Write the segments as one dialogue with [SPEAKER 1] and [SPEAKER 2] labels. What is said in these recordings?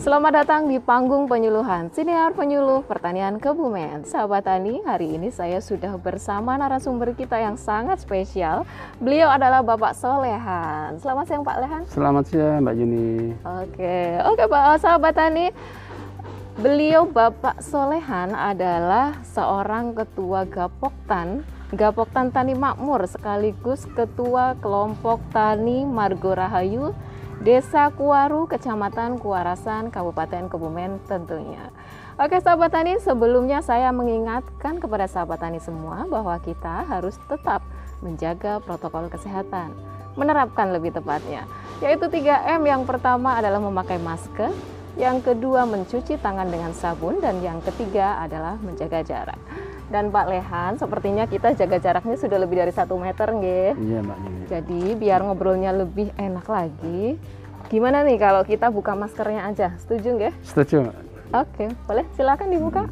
[SPEAKER 1] Selamat datang di panggung penyuluhan Siniar Penyuluh Pertanian Kebumen. Sahabat Tani, hari ini saya sudah bersama narasumber kita yang sangat spesial. Beliau adalah Bapak Solehan. Selamat siang Pak Lehan.
[SPEAKER 2] Selamat siang Mbak Juni.
[SPEAKER 1] Oke, oke Pak Oh, sahabat Tani. Beliau Bapak Solehan adalah seorang ketua Gapoktan Gapoktan Tani Makmur sekaligus ketua kelompok tani Margo Rahayu Desa Kuaru, Kecamatan Kuarasan, Kabupaten Kebumen tentunya. Oke sahabat tani, sebelumnya saya mengingatkan kepada sahabat tani semua bahwa kita harus tetap menjaga protokol kesehatan, menerapkan lebih tepatnya, yaitu 3M yang pertama adalah memakai masker, yang kedua mencuci tangan dengan sabun, dan yang ketiga adalah menjaga jarak. Dan Pak Lehan, sepertinya kita jaga jaraknya sudah lebih dari satu meter, nggih.
[SPEAKER 2] Iya Mbak Juni.
[SPEAKER 1] Jadi biar ngobrolnya lebih enak lagi, gimana nih kalau kita buka maskernya aja? Setuju nggak?
[SPEAKER 2] Setuju. Mbak.
[SPEAKER 1] Oke, boleh silakan dibuka.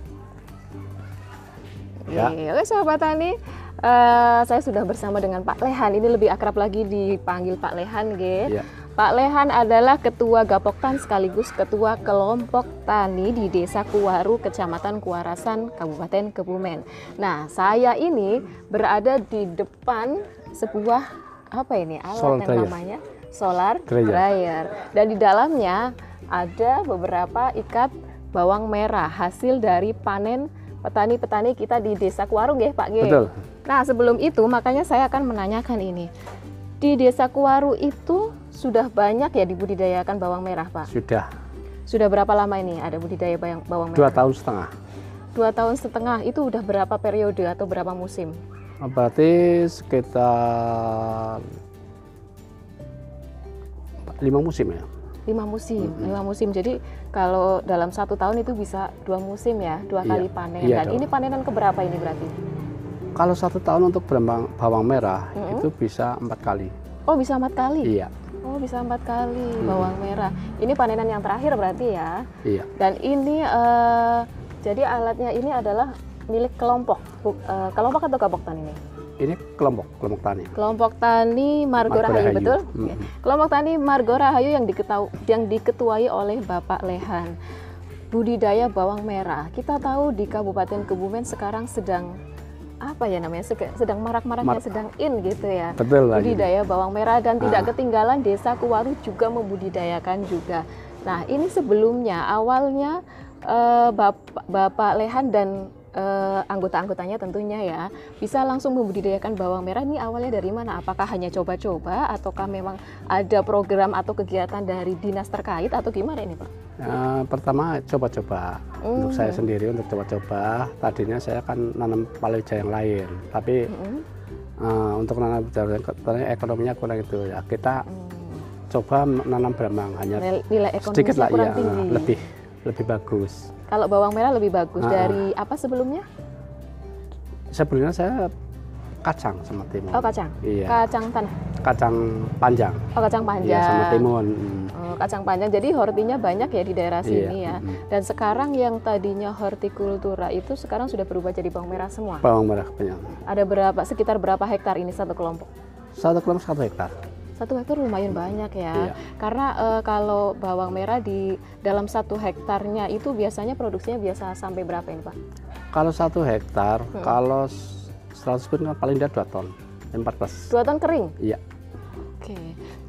[SPEAKER 2] Ya.
[SPEAKER 1] Oke, oke sahabat tani, eh, saya sudah bersama dengan Pak Lehan. Ini lebih akrab lagi dipanggil Pak Lehan, ge.
[SPEAKER 2] Iya.
[SPEAKER 1] Pak Lehan adalah ketua Gapoktan sekaligus ketua kelompok tani di Desa Kuwaru, Kecamatan Kuarasan, Kabupaten Kebumen. Nah, saya ini berada di depan sebuah apa ini alat
[SPEAKER 2] Solar
[SPEAKER 1] yang
[SPEAKER 2] dryer.
[SPEAKER 1] namanya solar
[SPEAKER 2] Dryer.
[SPEAKER 1] dryer. Dan di dalamnya ada beberapa ikat bawang merah hasil dari panen petani-petani kita di Desa Kuwaru, nggih, Pak G.
[SPEAKER 2] Betul.
[SPEAKER 1] Nah, sebelum itu makanya saya akan menanyakan ini. Di Desa Kuwaru itu sudah banyak ya dibudidayakan bawang merah, Pak.
[SPEAKER 2] Sudah
[SPEAKER 1] Sudah berapa lama ini ada budidaya bayang- bawang
[SPEAKER 2] dua
[SPEAKER 1] merah?
[SPEAKER 2] tahun setengah.
[SPEAKER 1] Dua tahun setengah itu udah berapa periode atau berapa musim?
[SPEAKER 2] Oh, Berarti sekitar lima musim ya.
[SPEAKER 1] Lima musim, lima musim. Jadi kalau dalam satu tahun itu bisa dua musim ya, dua
[SPEAKER 2] Iya.
[SPEAKER 1] kali panen.
[SPEAKER 2] Iya
[SPEAKER 1] Dan
[SPEAKER 2] dong.
[SPEAKER 1] ini panenan keberapa ini berarti?
[SPEAKER 2] Kalau satu tahun untuk berambang- bawang merah
[SPEAKER 1] Mm-mm.
[SPEAKER 2] itu bisa empat kali.
[SPEAKER 1] Oh bisa empat kali.
[SPEAKER 2] Iya,
[SPEAKER 1] Oh bisa empat kali bawang merah. Ini panenan yang terakhir berarti ya.
[SPEAKER 2] iya,
[SPEAKER 1] Dan ini eh, jadi alatnya ini adalah milik kelompok, Bu- eh, kelompok atau kelompok tani ini?
[SPEAKER 2] iya. ini kelompok kelompok tani.
[SPEAKER 1] Kelompok tani Margo
[SPEAKER 2] Margo
[SPEAKER 1] Rahayu
[SPEAKER 2] Rahayu.
[SPEAKER 1] betul?
[SPEAKER 2] Mm-mm.
[SPEAKER 1] Oke. Kelompok tani Margo Rahayu yang diketau- yang diketuai oleh Bapak Lehan. Budidaya bawang merah. Kita tahu di Kabupaten Kebumen sekarang sedang apa ya namanya? sege- Sedang marak-maraknya,
[SPEAKER 2] Mar-
[SPEAKER 1] sedang in gitu ya.
[SPEAKER 2] Betul Mbak Juni.
[SPEAKER 1] Budidaya bawang merah dan
[SPEAKER 2] Ah.
[SPEAKER 1] tidak ketinggalan Desa Kuwaru juga membudidayakan juga. Nah, ini sebelumnya awalnya eh, Bapak, Bapak Lehan dan eh, anggota-anggotanya tentunya ya bisa langsung membudidayakan bawang merah ini awalnya dari mana? Apakah hanya coba-coba ataukah memang ada program atau kegiatan dari dinas terkait atau gimana ini, Pak?
[SPEAKER 2] Eh, pertama coba-coba untuk saya
[SPEAKER 1] Hmm.
[SPEAKER 2] sendiri untuk coba-coba. Tadinya saya kan nanam palawija yang lain, tapi
[SPEAKER 1] Mm-mm.
[SPEAKER 2] Eh, untuk nanam jarum ternyata ekonominya kurang itu ya kita
[SPEAKER 1] Hmm.
[SPEAKER 2] coba menanam brambang hanya
[SPEAKER 1] Nil- Nilai
[SPEAKER 2] Ya, sedikit
[SPEAKER 1] ekonomisnya
[SPEAKER 2] lah
[SPEAKER 1] kurang
[SPEAKER 2] ya
[SPEAKER 1] tinggi.
[SPEAKER 2] lebih lebih bagus
[SPEAKER 1] Kalau bawang merah lebih bagus
[SPEAKER 2] Ah.
[SPEAKER 1] dari apa sebelumnya?
[SPEAKER 2] sebelumnya saya kacang sama timun
[SPEAKER 1] Oh, kacang.
[SPEAKER 2] iya
[SPEAKER 1] Kacang tanah.
[SPEAKER 2] kacang panjang
[SPEAKER 1] Oh, kacang
[SPEAKER 2] iya
[SPEAKER 1] panjang.
[SPEAKER 2] sama timun Mm.
[SPEAKER 1] Oh, kacang panjang. Jadi hortinya banyak ya di daerah
[SPEAKER 2] iya
[SPEAKER 1] sini ya.
[SPEAKER 2] mm.
[SPEAKER 1] Dan sekarang yang tadinya hortikultura itu sekarang sudah berubah jadi bawang merah semua.
[SPEAKER 2] bawang merah banyak
[SPEAKER 1] Ada berapa sekitar berapa hektar ini satu kelompok?
[SPEAKER 2] satu kelompok satu hektar
[SPEAKER 1] Satu hektar lumayan banyak ya.
[SPEAKER 2] Iya.
[SPEAKER 1] Karena eh, kalau bawang merah di dalam satu hektarnya itu biasanya produksinya biasa sampai berapa ini, Pak?
[SPEAKER 2] kalau satu hektar
[SPEAKER 1] Hmm.
[SPEAKER 2] kalau s- 100 pun kan paling tidak 2 ton 14
[SPEAKER 1] Dua ton kering.
[SPEAKER 2] iya
[SPEAKER 1] Oke,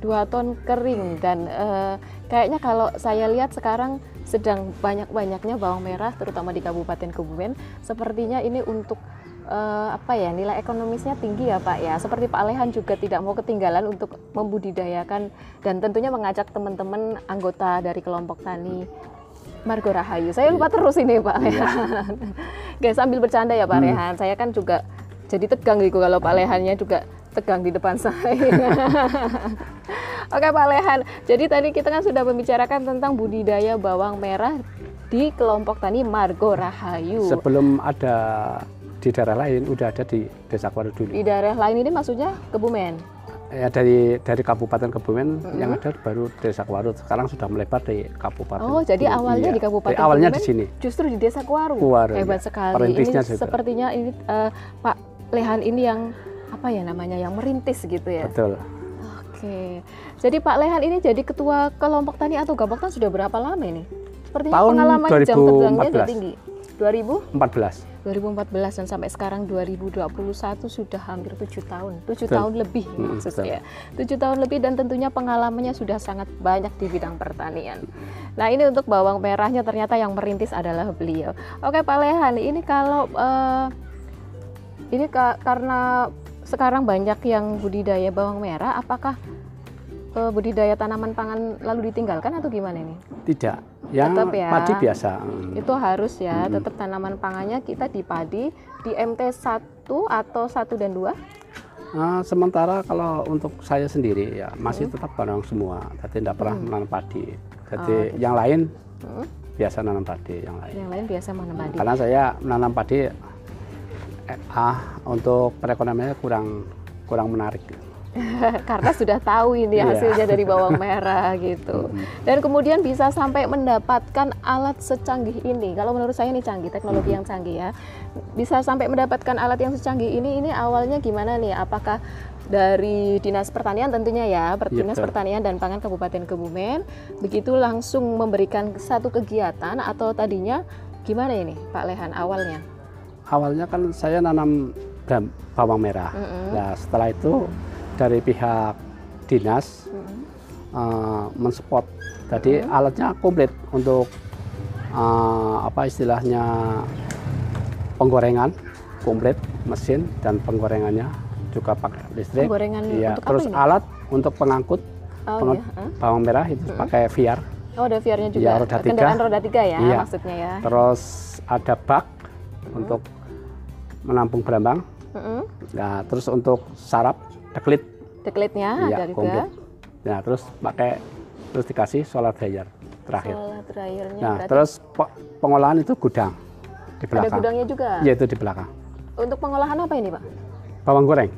[SPEAKER 1] dua ton kering dan eh, kayaknya kalau saya lihat sekarang sedang banyak-banyaknya bawang merah, terutama di Kabupaten Kebumen. Sepertinya ini untuk eh, apa ya nilai ekonomisnya tinggi ya Pak ya. Seperti Pak Lehan juga tidak mau ketinggalan untuk membudidayakan dan tentunya mengajak teman-teman anggota dari kelompok tani Margo Rahayu. Saya
[SPEAKER 2] Iya.
[SPEAKER 1] lupa terus ini Pak Lehan. Guys sambil bercanda ya
[SPEAKER 2] Hmm.
[SPEAKER 1] Pak Lehan. Saya kan juga jadi tegang gitu kalau Pak Lehannya juga tegang di depan saya. Oke Pak Lehan, jadi tadi kita kan sudah membicarakan tentang budidaya bawang merah di kelompok tani Margo Rahayu.
[SPEAKER 2] sebelum ada di daerah lain udah ada di desa Kuaru dulu
[SPEAKER 1] Di daerah lain ini maksudnya Kebumen.
[SPEAKER 2] Ya, dari dari Kabupaten Kebumen
[SPEAKER 1] Hmm.
[SPEAKER 2] yang ada baru Desa Kuarut. Sekarang sudah melebar di Kabupaten.
[SPEAKER 1] Oh, jadi
[SPEAKER 2] Kebumen.
[SPEAKER 1] awalnya
[SPEAKER 2] Iya.
[SPEAKER 1] di Kabupaten
[SPEAKER 2] Jadi awalnya di
[SPEAKER 1] Kebumen?
[SPEAKER 2] sini.
[SPEAKER 1] Justru di Desa Kuaru.
[SPEAKER 2] Kuaru,
[SPEAKER 1] Hebat
[SPEAKER 2] iya.
[SPEAKER 1] sekali. Ini
[SPEAKER 2] Perintisnya juga.
[SPEAKER 1] sepertinya ini eh, Pak Lehan ini yang apa ya namanya yang merintis gitu ya.
[SPEAKER 2] Betul.
[SPEAKER 1] Oke. Jadi Pak Lehan ini jadi ketua kelompok tani atau gaboktan sudah berapa lama ini? Sepertinya
[SPEAKER 2] Tahun
[SPEAKER 1] pengalaman jam terbangnya sudah
[SPEAKER 2] 2014.
[SPEAKER 1] tinggi. 2000?
[SPEAKER 2] 14
[SPEAKER 1] 2014 dan sampai sekarang 2021 sudah hampir tujuh tahun, tujuh
[SPEAKER 2] Betul.
[SPEAKER 1] tahun lebih
[SPEAKER 2] Mm,
[SPEAKER 1] maksud
[SPEAKER 2] betul.
[SPEAKER 1] saya, tujuh tahun lebih dan tentunya pengalamannya sudah sangat banyak di bidang pertanian. Nah ini untuk bawang merahnya ternyata yang merintis adalah beliau. Oke Pak Lehan, ini kalau eh, ini ka- karena sekarang banyak yang budidaya bawang merah, apakah eh, budidaya tanaman pangan lalu ditinggalkan atau gimana ini?
[SPEAKER 2] tidak yang
[SPEAKER 1] Tetap ya.
[SPEAKER 2] padi biasa Hmm.
[SPEAKER 1] itu harus ya
[SPEAKER 2] Mm-mm.
[SPEAKER 1] tetap tanaman pangannya kita di padi di MT 1 atau 1 dan 2
[SPEAKER 2] Eh, sementara kalau untuk saya sendiri ya masih tetap barang semua jadi tidak pernah menanam padi jadi
[SPEAKER 1] Hmm. Oh, gitu.
[SPEAKER 2] yang lain
[SPEAKER 1] Mm.
[SPEAKER 2] biasa nanam padi yang lain
[SPEAKER 1] yang lain biasa menanam padi
[SPEAKER 2] karena saya menanam padi eh, ah untuk perekonomiannya kurang kurang menarik
[SPEAKER 1] karena sudah tahu ini
[SPEAKER 2] Iya.
[SPEAKER 1] hasilnya dari bawang merah gitu dan kemudian bisa sampai mendapatkan alat secanggih ini kalau menurut saya ini canggih teknologi yang canggih ya bisa sampai mendapatkan alat yang secanggih ini ini awalnya gimana nih apakah dari dinas pertanian tentunya ya Per-
[SPEAKER 2] Iya,
[SPEAKER 1] dinas
[SPEAKER 2] betul.
[SPEAKER 1] pertanian dan pangan kabupaten kebumen begitu langsung memberikan satu kegiatan atau tadinya gimana ini pak lehan awalnya
[SPEAKER 2] awalnya kan saya nanam gam- bawang merah
[SPEAKER 1] Mm-mm.
[SPEAKER 2] Nah, setelah itu dari pihak dinas
[SPEAKER 1] Mm-mm.
[SPEAKER 2] eh, mensupport. Jadi
[SPEAKER 1] Hmm.
[SPEAKER 2] alatnya komplit untuk eh, apa istilahnya penggorengan komplit mesin dan penggorengannya juga pakai listrik.
[SPEAKER 1] Penggorengan untuk
[SPEAKER 2] Iya,
[SPEAKER 1] apa
[SPEAKER 2] terus
[SPEAKER 1] ini?
[SPEAKER 2] alat untuk pengangkut
[SPEAKER 1] oh
[SPEAKER 2] pengot-
[SPEAKER 1] iya Hmm. Hah?
[SPEAKER 2] bawang merah itu pakai VR.
[SPEAKER 1] oh ada VR-nya juga
[SPEAKER 2] Iya, roda tiga.
[SPEAKER 1] kendaraan roda tiga ya
[SPEAKER 2] Iya.
[SPEAKER 1] maksudnya ya
[SPEAKER 2] Terus ada bak
[SPEAKER 1] Hmm.
[SPEAKER 2] untuk menampung berambang.
[SPEAKER 1] Mm-mm.
[SPEAKER 2] Nah, terus untuk sarap teklit
[SPEAKER 1] Teklitnya ada
[SPEAKER 2] iya
[SPEAKER 1] juga.
[SPEAKER 2] komplit. Nah, terus pakai terus dikasih solar dryer terakhir.
[SPEAKER 1] Solar dryernya
[SPEAKER 2] Nah,
[SPEAKER 1] berarti
[SPEAKER 2] terus pe- pengolahan itu gudang di
[SPEAKER 1] ada
[SPEAKER 2] belakang.
[SPEAKER 1] gudangnya juga.
[SPEAKER 2] Iya, itu di belakang.
[SPEAKER 1] Untuk pengolahan apa ini, Pak?
[SPEAKER 2] Bawang goreng.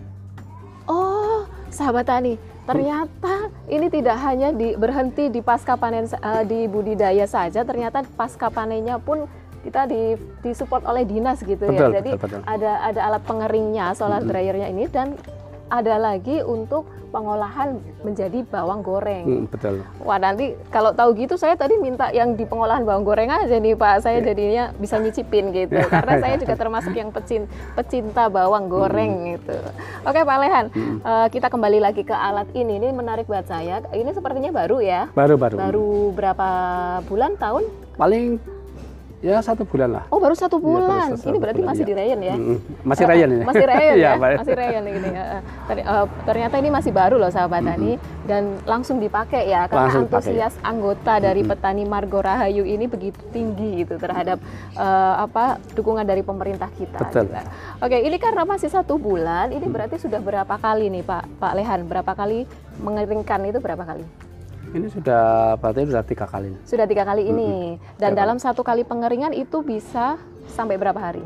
[SPEAKER 1] Oh, sahabat tani, ternyata ini tidak hanya di, berhenti di pasca panen sa- eh, di budidaya saja, ternyata pasca panennya pun kita di disupport oleh dinas gitu
[SPEAKER 2] Betul,
[SPEAKER 1] ya. Jadi
[SPEAKER 2] betul, betul.
[SPEAKER 1] ada ada alat pengeringnya, solar dryernya ini dan ada lagi untuk pengolahan menjadi bawang goreng.
[SPEAKER 2] Hmm, betul.
[SPEAKER 1] Wah nanti kalau tahu gitu saya tadi minta yang di pengolahan bawang goreng aja nih Pak.
[SPEAKER 2] Iya.
[SPEAKER 1] Saya jadinya bisa nyicipin gitu. Karena saya juga termasuk yang pecin, pecinta bawang goreng
[SPEAKER 2] Hmm.
[SPEAKER 1] gitu. Oke Pak Lehan, eh, kita kembali lagi ke alat ini. Ini menarik buat saya. Ini sepertinya baru ya.
[SPEAKER 2] Baru-baru.
[SPEAKER 1] Baru berapa bulan tahun?
[SPEAKER 2] Paling ya satu bulan lah.
[SPEAKER 1] Oh baru satu
[SPEAKER 2] Iya, baru
[SPEAKER 1] bulan.
[SPEAKER 2] satu
[SPEAKER 1] ini berarti
[SPEAKER 2] bulan,
[SPEAKER 1] masih
[SPEAKER 2] iya.
[SPEAKER 1] di Rayon ya?
[SPEAKER 2] Hmm, masih
[SPEAKER 1] Eh,
[SPEAKER 2] rayon ini.
[SPEAKER 1] Masih Rayon
[SPEAKER 2] Iya,
[SPEAKER 1] ya,
[SPEAKER 2] Pak.
[SPEAKER 1] masih Rayon ini. ya. Eh, ter- eh, ternyata ini masih baru loh sahabat Tani dan langsung dipakai ya karena
[SPEAKER 2] Langsung dipakai.
[SPEAKER 1] antusias anggota dari petani Margo Rahayu ini begitu tinggi gitu terhadap eh, apa dukungan dari pemerintah kita.
[SPEAKER 2] Betul.
[SPEAKER 1] gitu. Oke, ini karena masih satu bulan, ini berarti sudah berapa kali nih Pak Pak Lehan? Berapa kali mengeringkan itu berapa kali?
[SPEAKER 2] Ini sudah berarti sudah tiga kali. ini.
[SPEAKER 1] Sudah tiga kali ini dan
[SPEAKER 2] Tiga
[SPEAKER 1] dalam satu kali pengeringan itu bisa sampai berapa hari?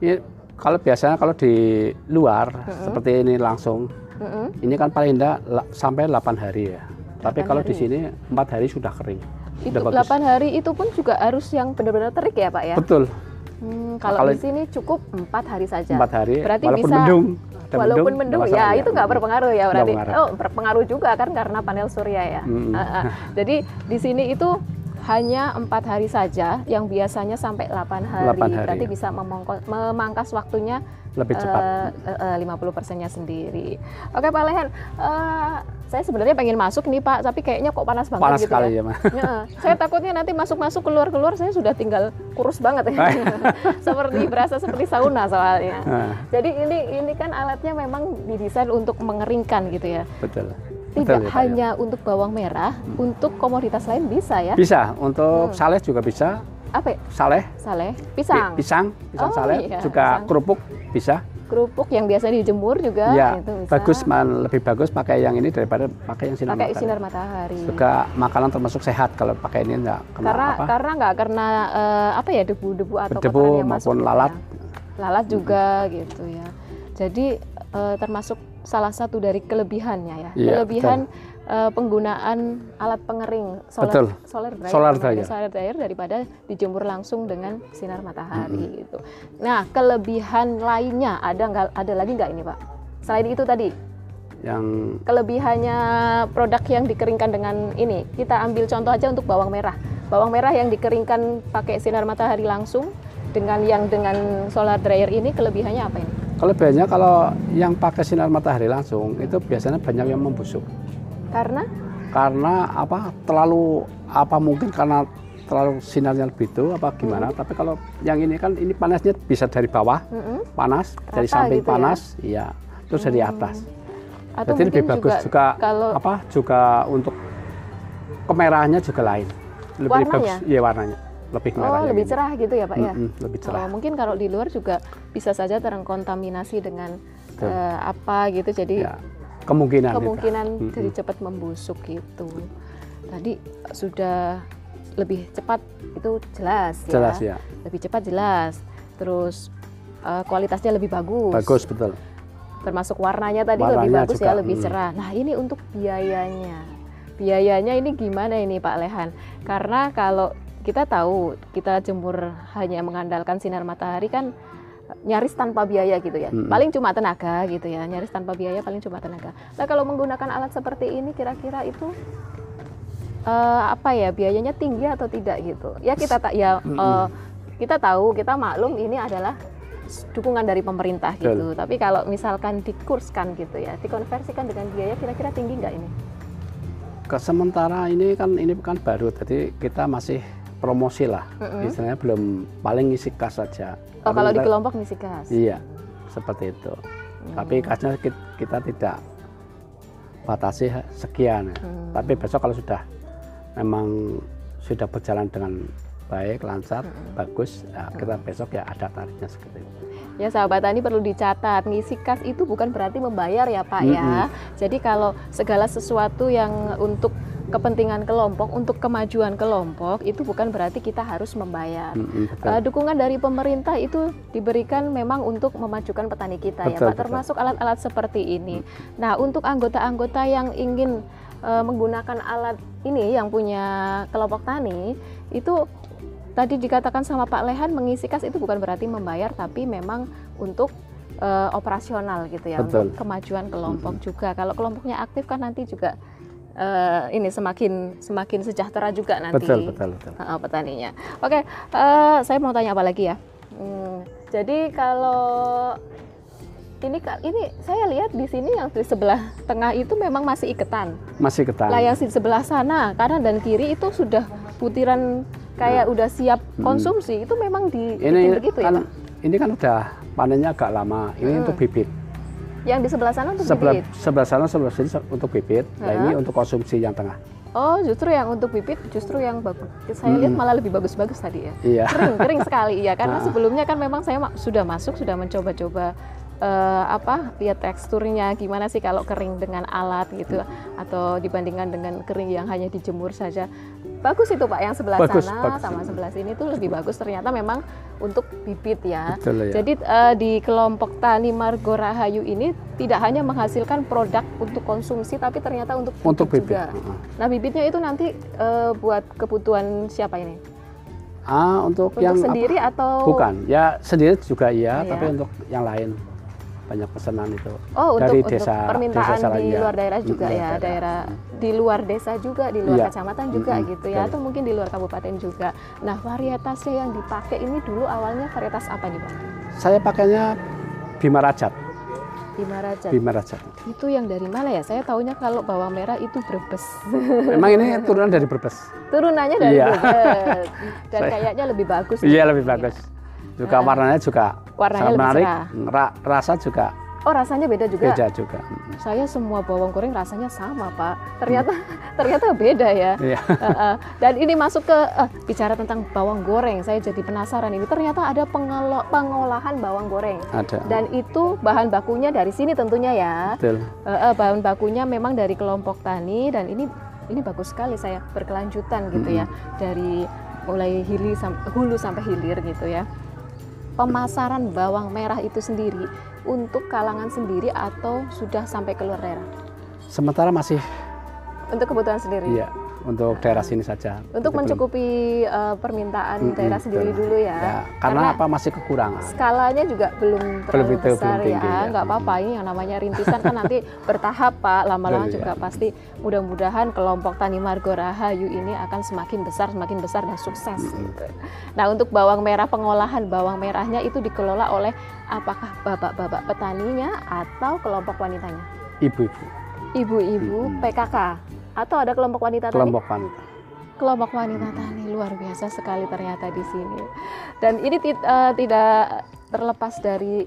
[SPEAKER 2] Ini kalau biasanya kalau di luar
[SPEAKER 1] Hmm.
[SPEAKER 2] seperti ini langsung,
[SPEAKER 1] Mm-mm.
[SPEAKER 2] ini kan paling tidak la- sampai 8 hari ya. Tapi
[SPEAKER 1] Delapan
[SPEAKER 2] kalau di
[SPEAKER 1] hari.
[SPEAKER 2] sini empat hari sudah kering.
[SPEAKER 1] Itu
[SPEAKER 2] Sudah bagus.
[SPEAKER 1] 8 hari itu pun juga harus yang benar-benar terik ya Pak ya?
[SPEAKER 2] Betul.
[SPEAKER 1] Hmm, kalau
[SPEAKER 2] Kalau-
[SPEAKER 1] di sini cukup empat hari saja.
[SPEAKER 2] Empat hari.
[SPEAKER 1] Ya. Berarti
[SPEAKER 2] walaupun
[SPEAKER 1] bisa-
[SPEAKER 2] mendung. ada
[SPEAKER 1] Walaupun
[SPEAKER 2] nggak
[SPEAKER 1] mendung
[SPEAKER 2] masalah,
[SPEAKER 1] ya, itu nggak berpengaruh ya berarti.
[SPEAKER 2] Nggak
[SPEAKER 1] Oh, berpengaruh juga kan karena panel surya ya.
[SPEAKER 2] Mm-mm.
[SPEAKER 1] Ah, ah. Jadi di sini itu hanya empat hari saja yang biasanya sampai 8 hari.
[SPEAKER 2] Delapan hari. ya.
[SPEAKER 1] Berarti bisa memongko- memangkas waktunya
[SPEAKER 2] Lebih cepat.
[SPEAKER 1] eh, eh, eh, 50 persennya sendiri. Oke Pak Lehen, eh, saya sebenarnya pengen masuk nih Pak, tapi kayaknya kok panas banget
[SPEAKER 2] Panas
[SPEAKER 1] gitu
[SPEAKER 2] sekali
[SPEAKER 1] ya.
[SPEAKER 2] ya, Mas.
[SPEAKER 1] Heeh. saya takutnya nanti masuk-masuk keluar-keluar saya sudah tinggal kurus banget ya. seperti berasa seperti sauna soalnya.
[SPEAKER 2] Nah,
[SPEAKER 1] Jadi ini ini kan alatnya memang didesain untuk mengeringkan gitu ya.
[SPEAKER 2] betul. Betul
[SPEAKER 1] Tidak
[SPEAKER 2] ya, Hmm. Pak, ya.
[SPEAKER 1] hanya untuk bawang merah, untuk komoditas lain bisa ya.
[SPEAKER 2] Bisa, untuk saleh juga bisa.
[SPEAKER 1] Apa? ya?
[SPEAKER 2] Saleh,
[SPEAKER 1] Saleh,
[SPEAKER 2] pi-
[SPEAKER 1] pisang,
[SPEAKER 2] pisang, pisang
[SPEAKER 1] Oh,
[SPEAKER 2] saleh,
[SPEAKER 1] iya,
[SPEAKER 2] juga
[SPEAKER 1] pisang.
[SPEAKER 2] kerupuk bisa.
[SPEAKER 1] kerupuk yang biasa dijemur juga
[SPEAKER 2] ya,
[SPEAKER 1] itu bisa.
[SPEAKER 2] bagus, mal- lebih bagus pakai yang ini daripada pakai yang sinar
[SPEAKER 1] Pakai
[SPEAKER 2] matahari.
[SPEAKER 1] sinar matahari.
[SPEAKER 2] Juga makanan termasuk sehat kalau pakai ini enggak kena
[SPEAKER 1] karena
[SPEAKER 2] apa?
[SPEAKER 1] karena nggak karena eh, apa ya debu-debu atau
[SPEAKER 2] Debu
[SPEAKER 1] kotoran yang masuk
[SPEAKER 2] maupun
[SPEAKER 1] gitu
[SPEAKER 2] lalat.
[SPEAKER 1] ya. lalat juga gitu ya jadi eh, termasuk salah satu dari kelebihannya ya
[SPEAKER 2] Iya,
[SPEAKER 1] kelebihan eh, penggunaan alat pengering solar
[SPEAKER 2] Betul.
[SPEAKER 1] solar dryer,
[SPEAKER 2] Solar
[SPEAKER 1] namanya,
[SPEAKER 2] dryer.
[SPEAKER 1] solar dryer daripada dijemur langsung dengan sinar matahari gitu nah kelebihan lainnya ada nggak ada lagi nggak ini pak selain itu tadi
[SPEAKER 2] Yang
[SPEAKER 1] kelebihannya produk yang dikeringkan dengan ini kita ambil contoh aja untuk bawang merah Bawang merah yang dikeringkan pakai sinar matahari langsung dengan yang dengan solar dryer ini kelebihannya apa ini?
[SPEAKER 2] Kelebihannya kalau yang pakai sinar matahari langsung itu biasanya banyak yang membusuk.
[SPEAKER 1] Karena
[SPEAKER 2] Karena apa? Terlalu apa mungkin karena terlalu sinarnya lebih itu apa gimana?
[SPEAKER 1] Hmm.
[SPEAKER 2] Tapi kalau yang ini kan ini panasnya bisa dari bawah
[SPEAKER 1] Mm-mm.
[SPEAKER 2] panas, dari
[SPEAKER 1] Rata gitu
[SPEAKER 2] samping
[SPEAKER 1] ya? Hmm.
[SPEAKER 2] panas, iya. Terus dari atas.
[SPEAKER 1] atau
[SPEAKER 2] Jadi lebih
[SPEAKER 1] mungkin Oh,
[SPEAKER 2] bagus juga,
[SPEAKER 1] kalau
[SPEAKER 2] apa juga untuk kemerahannya juga lain. Lebih
[SPEAKER 1] Warnanya?
[SPEAKER 2] bagus, iya warnanya. Lebih merah.
[SPEAKER 1] oh
[SPEAKER 2] yang
[SPEAKER 1] lebih
[SPEAKER 2] ini.
[SPEAKER 1] cerah gitu ya pak ya?
[SPEAKER 2] Mm-mm, lebih cerah.
[SPEAKER 1] Oh, mungkin kalau di luar juga bisa saja terkontaminasi dengan
[SPEAKER 2] Betul.
[SPEAKER 1] eh, apa gitu, jadi
[SPEAKER 2] Ya. Kemungkinan, itu.
[SPEAKER 1] kemungkinan
[SPEAKER 2] Mm-mm.
[SPEAKER 1] jadi cepat membusuk gitu. Tadi sudah lebih cepat itu jelas,
[SPEAKER 2] Jelas
[SPEAKER 1] ya.
[SPEAKER 2] ya.
[SPEAKER 1] Lebih cepat jelas. Terus eh, kualitasnya lebih bagus.
[SPEAKER 2] Bagus betul.
[SPEAKER 1] Termasuk warnanya tadi lebih
[SPEAKER 2] Warnanya
[SPEAKER 1] bagus
[SPEAKER 2] juga,
[SPEAKER 1] ya, lebih
[SPEAKER 2] mm.
[SPEAKER 1] cerah. Nah, ini untuk biayanya. Biayanya ini gimana ini Pak Lehan? Karena kalau kita tahu kita jemur hanya mengandalkan sinar matahari kan nyaris tanpa biaya gitu ya.
[SPEAKER 2] Mm-mm.
[SPEAKER 1] Paling cuma tenaga gitu ya. Nyaris tanpa biaya paling cuma tenaga. Nah, kalau menggunakan alat seperti ini kira-kira itu eh, apa ya? Biayanya tinggi atau tidak gitu. Ya kita tak ya
[SPEAKER 2] Mm-mm.
[SPEAKER 1] eh, kita tahu, kita maklum ini adalah dukungan dari pemerintah gitu. Tapi kalau misalkan dikurskan gitu ya, dikonversikan dengan biaya kira-kira tinggi nggak ini?
[SPEAKER 2] Ke sementara ini kan ini kan baru, jadi kita masih promosi lah.
[SPEAKER 1] Mm-mm.
[SPEAKER 2] Istilahnya belum paling isi kas saja.
[SPEAKER 1] Oh,
[SPEAKER 2] Tapi
[SPEAKER 1] kalau di
[SPEAKER 2] kita-
[SPEAKER 1] kelompok misi gas.
[SPEAKER 2] Iya, seperti itu.
[SPEAKER 1] Mm.
[SPEAKER 2] Tapi kasnya kita, kita tidak batasi ha- sekian. ya.
[SPEAKER 1] Hmm.
[SPEAKER 2] Tapi besok kalau sudah memang sudah berjalan dengan baik, lancar, bagus, ya
[SPEAKER 1] Mm.
[SPEAKER 2] kita besok ya ada tarifnya seperti itu.
[SPEAKER 1] Ya sahabat tani perlu dicatat, ngisi kas itu bukan berarti membayar ya Pak ya. Jadi kalau segala sesuatu yang untuk kepentingan kelompok, untuk kemajuan kelompok itu bukan berarti kita harus membayar.
[SPEAKER 2] Mm-mm, betul.
[SPEAKER 1] Eh, dukungan dari pemerintah itu diberikan memang untuk memajukan petani kita ya Pak,
[SPEAKER 2] Betul, betul.
[SPEAKER 1] termasuk alat-alat seperti ini. Nah untuk anggota-anggota yang ingin eh, menggunakan alat ini yang punya kelompok tani itu tadi dikatakan sama Pak Lehan mengisi kas itu bukan berarti membayar tapi memang untuk eh, operasional gitu ya untuk
[SPEAKER 2] Betul.
[SPEAKER 1] kemajuan kelompok juga. Kalau kelompoknya aktif kan nanti juga eh, ini semakin semakin sejahtera juga nanti
[SPEAKER 2] betul, betul, betul.
[SPEAKER 1] uh, petaninya. Oke, eh, saya mau tanya apa lagi ya? Hmm, jadi kalau ini Kak, ini saya lihat di sini yang di sebelah tengah itu memang masih iketan.
[SPEAKER 2] Masih ketan.
[SPEAKER 1] Lah yang di sebelah sana kanan dan kiri itu sudah butiran kayak udah siap konsumsi itu memang di
[SPEAKER 2] Hmm. Ini
[SPEAKER 1] begitu ya.
[SPEAKER 2] kan,
[SPEAKER 1] Pak? Mm.
[SPEAKER 2] ini kan udah panennya agak lama. Ini untuk bibit.
[SPEAKER 1] Yang di sebelah sana untuk
[SPEAKER 2] Sebelah
[SPEAKER 1] bibit.
[SPEAKER 2] sebelah sana sebelah sini se- untuk bibit. Nah, ini
[SPEAKER 1] Heeh.
[SPEAKER 2] untuk konsumsi yang tengah.
[SPEAKER 1] Oh, justru yang untuk bibit justru yang bagus. Saya
[SPEAKER 2] Hmm.
[SPEAKER 1] lihat malah lebih bagus-bagus tadi ya.
[SPEAKER 2] Iya.
[SPEAKER 1] kering kering sekali ya karena
[SPEAKER 2] Ah.
[SPEAKER 1] sebelumnya kan memang saya ma- sudah masuk sudah mencoba-coba eh, apa lihat teksturnya gimana sih kalau kering dengan alat gitu
[SPEAKER 2] Hmm.
[SPEAKER 1] atau dibandingkan dengan kering yang hanya dijemur saja bagus itu pak yang sebelah
[SPEAKER 2] Bagus,
[SPEAKER 1] sana
[SPEAKER 2] bagus.
[SPEAKER 1] sama sebelah sini itu lebih bagus ternyata memang untuk bibit ya
[SPEAKER 2] Betul ya.
[SPEAKER 1] jadi eh, di kelompok tani Margo Rahayu ini tidak hanya menghasilkan produk untuk konsumsi tapi ternyata untuk bibit,
[SPEAKER 2] untuk bibit. hmm.
[SPEAKER 1] juga.
[SPEAKER 2] Heeh.
[SPEAKER 1] Nah bibitnya itu nanti eh, buat kebutuhan siapa ini?
[SPEAKER 2] Ah, untuk,
[SPEAKER 1] Untuk
[SPEAKER 2] yang apa?
[SPEAKER 1] sendiri atau
[SPEAKER 2] Bukan, ya sendiri juga iya,
[SPEAKER 1] Iya.
[SPEAKER 2] tapi untuk yang lain banyak pesanan itu.
[SPEAKER 1] Oh, untuk,
[SPEAKER 2] Dari
[SPEAKER 1] untuk
[SPEAKER 2] desa-
[SPEAKER 1] permintaan
[SPEAKER 2] desa
[SPEAKER 1] di
[SPEAKER 2] lain, ya.
[SPEAKER 1] luar daerah juga
[SPEAKER 2] Mm,
[SPEAKER 1] ya,
[SPEAKER 2] luar
[SPEAKER 1] daerah
[SPEAKER 2] daerah.
[SPEAKER 1] di luar desa juga, di luar
[SPEAKER 2] Iya.
[SPEAKER 1] kecamatan juga
[SPEAKER 2] Mm-mm,
[SPEAKER 1] gitu ya,
[SPEAKER 2] betul.
[SPEAKER 1] atau mungkin di luar kabupaten juga. Nah, varietasnya yang dipakai ini dulu awalnya varietas apa nih, Pak?
[SPEAKER 2] Saya pakainya Bima Rajat,
[SPEAKER 1] Bima Raja.
[SPEAKER 2] Bima Rajat.
[SPEAKER 1] Itu yang dari mana ya? Saya taunya kalau bawang merah itu Brebes.
[SPEAKER 2] Memang ini turunan dari Brebes.
[SPEAKER 1] Turunannya dari
[SPEAKER 2] Iya.
[SPEAKER 1] Brebes. Dan
[SPEAKER 2] Saya-
[SPEAKER 1] kayaknya lebih bagus.
[SPEAKER 2] Iya,
[SPEAKER 1] nih.
[SPEAKER 2] lebih bagus. Juga warnanya juga
[SPEAKER 1] Warnanya
[SPEAKER 2] sangat
[SPEAKER 1] lebih
[SPEAKER 2] menarik.
[SPEAKER 1] cerah.
[SPEAKER 2] Ra- rasa juga
[SPEAKER 1] Oh, rasanya beda juga.
[SPEAKER 2] beda juga.
[SPEAKER 1] Saya semua bawang goreng rasanya sama, Pak. Ternyata ternyata beda ya.
[SPEAKER 2] Iya.
[SPEAKER 1] Heeh. Dan ini masuk ke eh, bicara tentang bawang goreng. Saya jadi penasaran ini. Ternyata ada pengelo- pengolahan bawang goreng.
[SPEAKER 2] Ada.
[SPEAKER 1] Dan itu bahan bakunya dari sini tentunya ya.
[SPEAKER 2] Betul.
[SPEAKER 1] Eh, eh, bahan bakunya memang dari kelompok tani dan ini ini bagus sekali saya berkelanjutan gitu ya. Dari mulai hilir sam- hulu sampai hilir gitu ya. Pemasaran bawang merah itu sendiri untuk kalangan sendiri atau sudah sampai ke luar daerah?
[SPEAKER 2] Sementara masih
[SPEAKER 1] Untuk kebutuhan sendiri.
[SPEAKER 2] iya. untuk daerah sini saja.
[SPEAKER 1] Untuk
[SPEAKER 2] Kita belum-
[SPEAKER 1] mencukupi eh, permintaan
[SPEAKER 2] Mm-mm,
[SPEAKER 1] daerah sendiri
[SPEAKER 2] betul.
[SPEAKER 1] dulu ya.
[SPEAKER 2] Ya, karena, apa masih kekurangan.
[SPEAKER 1] skalanya juga belum terlalu
[SPEAKER 2] itu, belum
[SPEAKER 1] besar ya.
[SPEAKER 2] tinggi, ya.
[SPEAKER 1] Nggak apa-apa ini yang namanya rintisan kan nanti bertahap Pak. Lama-lama
[SPEAKER 2] Betul,
[SPEAKER 1] juga
[SPEAKER 2] ya.
[SPEAKER 1] pasti mudah-mudahan kelompok Tani Margo Rahayu ini akan semakin besar, semakin besar dan sukses. gitu. Nah untuk bawang merah pengolahan bawang merahnya itu dikelola oleh apakah bapak-bapak petaninya atau kelompok wanitanya?
[SPEAKER 2] Ibu-ibu,
[SPEAKER 1] Ibu-ibu
[SPEAKER 2] Mm-mm.
[SPEAKER 1] PKK atau ada kelompok wanita tadi?
[SPEAKER 2] kelompok wanita.
[SPEAKER 1] kelompok wanita tani luar biasa sekali ternyata di sini dan ini ti- eh, tidak terlepas dari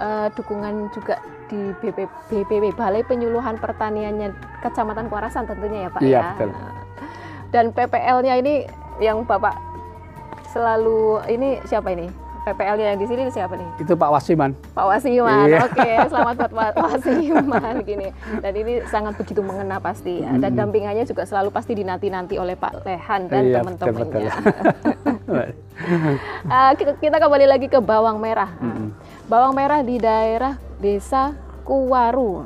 [SPEAKER 1] eh, dukungan juga di BP, BPP Balai Penyuluhan Pertaniannya Kecamatan Kuarasan tentunya ya Pak
[SPEAKER 2] Iya,
[SPEAKER 1] ya
[SPEAKER 2] betul.
[SPEAKER 1] Nah, dan PPL-nya ini yang Bapak selalu ini siapa ini PPL-nya yang di sini siapa nih
[SPEAKER 2] Itu Pak Wasiman.
[SPEAKER 1] Pak Wasiman,
[SPEAKER 2] Iya.
[SPEAKER 1] oke, selamat buat Pak Wasiman gini. Dan ini sangat begitu mengena pasti ya. Dan
[SPEAKER 2] Mm-mm.
[SPEAKER 1] dampingannya juga selalu pasti dinanti-nanti oleh Pak Lehan dan
[SPEAKER 2] Hmm. Iya,
[SPEAKER 1] teman-temannya.
[SPEAKER 2] betul-betul.
[SPEAKER 1] Ah, kita, kita kembali lagi ke bawang merah. Ah,
[SPEAKER 2] Mm-mm.
[SPEAKER 1] Bawang merah di daerah Desa Kuwaru.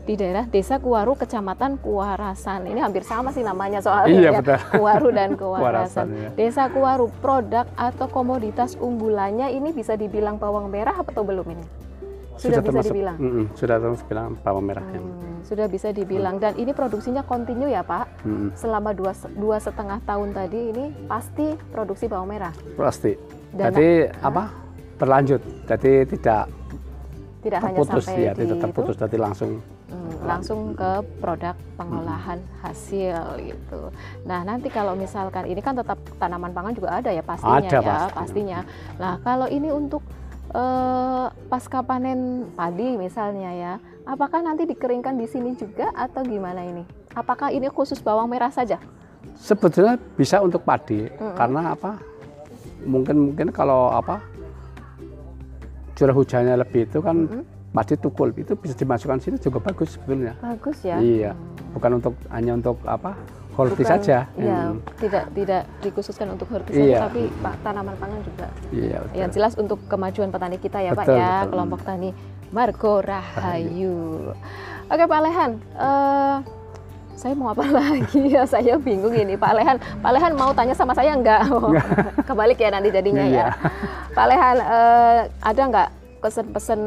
[SPEAKER 1] Di daerah Desa Kuwaru, Kecamatan Kuwarasan. Ini hampir sama sih namanya soalnya.
[SPEAKER 2] Iya,
[SPEAKER 1] ya.
[SPEAKER 2] betul.
[SPEAKER 1] Kuwaru dan
[SPEAKER 2] Kuwarasan,
[SPEAKER 1] Kuwarasan.
[SPEAKER 2] ya.
[SPEAKER 1] Desa Kuwaru, produk atau komoditas unggulannya ini bisa dibilang bawang merah atau belum ini? Sudah, bisa dibilang.
[SPEAKER 2] Mm-mm, sudah termasuk bilang bawang merah yang.
[SPEAKER 1] Hmm, sudah bisa dibilang dan ini produksinya kontinu ya Pak
[SPEAKER 2] Mm-mm,
[SPEAKER 1] selama dua dua setengah tahun tadi ini pasti produksi bawang merah
[SPEAKER 2] pasti.
[SPEAKER 1] Dan-
[SPEAKER 2] Jadi apa? Berlanjut. Jadi tidak
[SPEAKER 1] tidak hanya
[SPEAKER 2] terputus
[SPEAKER 1] sampai
[SPEAKER 2] ya,
[SPEAKER 1] di
[SPEAKER 2] tidak
[SPEAKER 1] itu
[SPEAKER 2] terputus. Jadi langsung
[SPEAKER 1] Hmm, langsung ke produk pengolahan
[SPEAKER 2] Hmm.
[SPEAKER 1] hasil gitu. Nah nanti kalau misalkan ini kan tetap tanaman pangan juga ada ya pastinya
[SPEAKER 2] Ada
[SPEAKER 1] ya
[SPEAKER 2] pastinya.
[SPEAKER 1] pastinya. Nah kalau ini untuk eh, pasca panen padi misalnya ya, apakah nanti dikeringkan di sini juga atau gimana ini? Apakah ini khusus bawang merah saja?
[SPEAKER 2] sebetulnya bisa untuk padi
[SPEAKER 1] Mm-mm.
[SPEAKER 2] karena apa mungkin mungkin kalau apa curah hujannya lebih itu kan
[SPEAKER 1] Mm-mm.
[SPEAKER 2] padi tukul itu bisa dimasukkan sini juga bagus sebetulnya
[SPEAKER 1] Bagus ya.
[SPEAKER 2] iya
[SPEAKER 1] Hmm.
[SPEAKER 2] bukan untuk hanya untuk apa holti
[SPEAKER 1] Bukan-
[SPEAKER 2] saja
[SPEAKER 1] Ya,
[SPEAKER 2] Hmm,
[SPEAKER 1] tidak tidak dikhususkan untuk herbisida,
[SPEAKER 2] Iya.
[SPEAKER 1] tapi pak tanaman pangan juga.
[SPEAKER 2] iya betul.
[SPEAKER 1] Yang jelas untuk kemajuan petani kita ya Pak
[SPEAKER 2] Betul,
[SPEAKER 1] ya,
[SPEAKER 2] betul.
[SPEAKER 1] kelompok tani Margo Rahayu. Oke Pak Lehan, eh, saya mau apa lagi ya? Saya bingung ini Pak Lehan. Pak Lehan mau tanya sama saya enggak? Oh, Kebalik ya nanti jadinya
[SPEAKER 2] Iya.
[SPEAKER 1] ya. Pak Lehan, eh, ada enggak pesan-pesan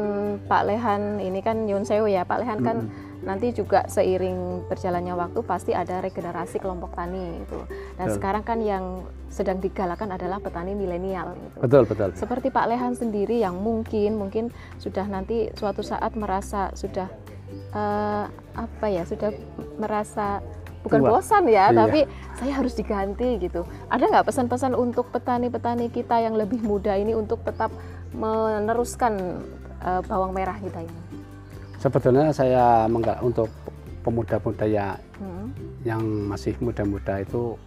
[SPEAKER 1] Pak Lehan ini kan Yun Sewu ya Pak Lehan kan
[SPEAKER 2] Hmm,
[SPEAKER 1] nanti juga seiring berjalannya waktu pasti ada regenerasi kelompok tani itu. Dan
[SPEAKER 2] Betul.
[SPEAKER 1] sekarang kan yang sedang digalakan adalah petani milenial gitu.
[SPEAKER 2] betul betul
[SPEAKER 1] Seperti Pak Lehan sendiri yang mungkin mungkin sudah nanti suatu saat merasa sudah eh, apa ya sudah merasa bukan
[SPEAKER 2] Tua.
[SPEAKER 1] bosan ya,
[SPEAKER 2] Iya.
[SPEAKER 1] tapi saya harus diganti gitu. Ada nggak pesan-pesan untuk petani-petani kita yang lebih muda ini untuk tetap meneruskan eh, bawang merah kita ini?
[SPEAKER 2] sebetulnya saya mengga- untuk pemuda-pemuda ya
[SPEAKER 1] Hmm.
[SPEAKER 2] yang masih muda-muda itu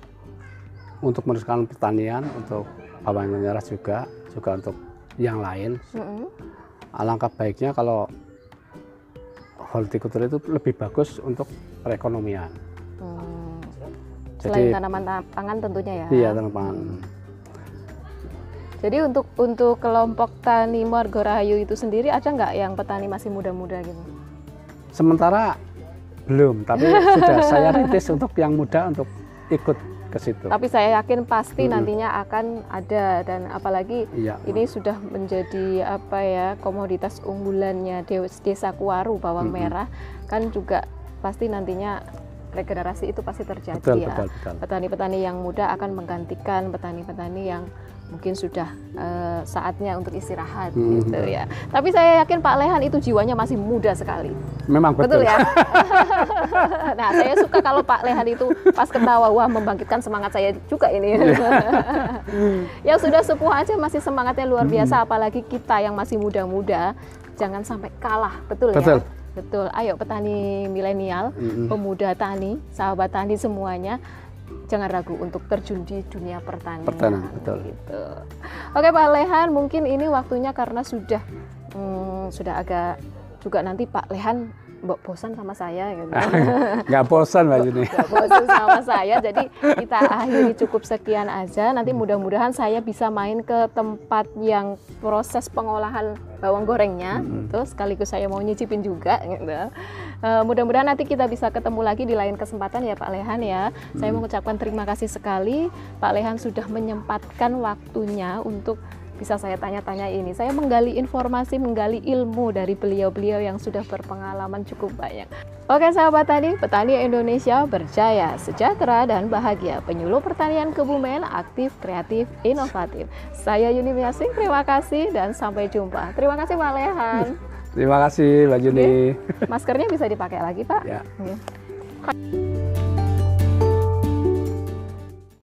[SPEAKER 2] untuk meneruskan pertanian untuk bawang merah juga juga untuk yang lain
[SPEAKER 1] Mm-mm.
[SPEAKER 2] alangkah baiknya kalau hortikultura itu lebih bagus untuk perekonomian.
[SPEAKER 1] Hmm. Selain
[SPEAKER 2] Jadi
[SPEAKER 1] tanaman ta- pangan tentunya ya.
[SPEAKER 2] iya teman-teman.
[SPEAKER 1] Jadi untuk untuk kelompok tani Margo Rahayu itu sendiri ada nggak yang petani masih muda-muda gitu?
[SPEAKER 2] Sementara belum, tapi sudah saya rintis untuk yang muda untuk ikut ke situ.
[SPEAKER 1] Tapi saya yakin pasti
[SPEAKER 2] Mm-mm.
[SPEAKER 1] nantinya akan ada dan apalagi
[SPEAKER 2] Iya.
[SPEAKER 1] ini sudah menjadi apa ya komoditas unggulannya de- desa Kuaru bawang
[SPEAKER 2] Mm-mm.
[SPEAKER 1] merah kan juga pasti nantinya regenerasi itu pasti terjadi
[SPEAKER 2] betul,
[SPEAKER 1] ya.
[SPEAKER 2] betul, betul.
[SPEAKER 1] Petani-petani yang muda akan menggantikan petani-petani yang mungkin sudah eh, saatnya untuk istirahat
[SPEAKER 2] Mm-mm.
[SPEAKER 1] gitu ya. Tapi saya yakin Pak Lehan itu jiwanya masih muda sekali.
[SPEAKER 2] Memang betul.
[SPEAKER 1] Betul, ya. nah, saya suka kalau Pak Lehan itu pas ketawa, wah membangkitkan semangat saya juga ini.
[SPEAKER 2] Iya.
[SPEAKER 1] yang sudah sepuh aja masih semangatnya
[SPEAKER 2] Hmm.
[SPEAKER 1] luar biasa, apalagi kita yang masih muda-muda, jangan sampai kalah, betul,
[SPEAKER 2] Betul.
[SPEAKER 1] ya? Betul. Ayo petani milenial,
[SPEAKER 2] Mm-mm.
[SPEAKER 1] pemuda tani, sahabat tani semuanya, jangan ragu untuk terjun di dunia pertanian.
[SPEAKER 2] Pertanian, betul.
[SPEAKER 1] Gitu. Oke Pak Lehan, mungkin ini waktunya karena sudah hmm, sudah agak juga nanti Pak Lehan mbok bosan sama saya gitu.
[SPEAKER 2] Nggak bosan Mbak Juni.
[SPEAKER 1] Nggak bosan sama saya. Jadi kita akhiri cukup sekian aja. Nanti mudah-mudahan saya bisa main ke tempat yang proses pengolahan bawang gorengnya.
[SPEAKER 2] Mm-mm.
[SPEAKER 1] Terus sekaligus saya mau nyicipin juga gitu. Eh, Mudah-mudahan nanti kita bisa ketemu lagi di lain kesempatan ya Pak Lehan ya. Saya mengucapkan terima kasih sekali Pak Lehan sudah menyempatkan waktunya untuk bisa saya tanya-tanya ini. Saya menggali informasi, menggali ilmu dari beliau-beliau yang sudah berpengalaman cukup banyak. Oke sahabat tani, petani Indonesia berjaya, sejahtera, dan bahagia. Penyuluh pertanian Kebumen aktif, kreatif, inovatif. Saya Yuni Miasing, terima kasih dan sampai jumpa. Terima kasih Pak Lehan.
[SPEAKER 2] Terima kasih Mbak Ya. Juni.
[SPEAKER 1] Iya. Maskernya bisa dipakai lagi Pak.
[SPEAKER 2] Ya.
[SPEAKER 1] Oke.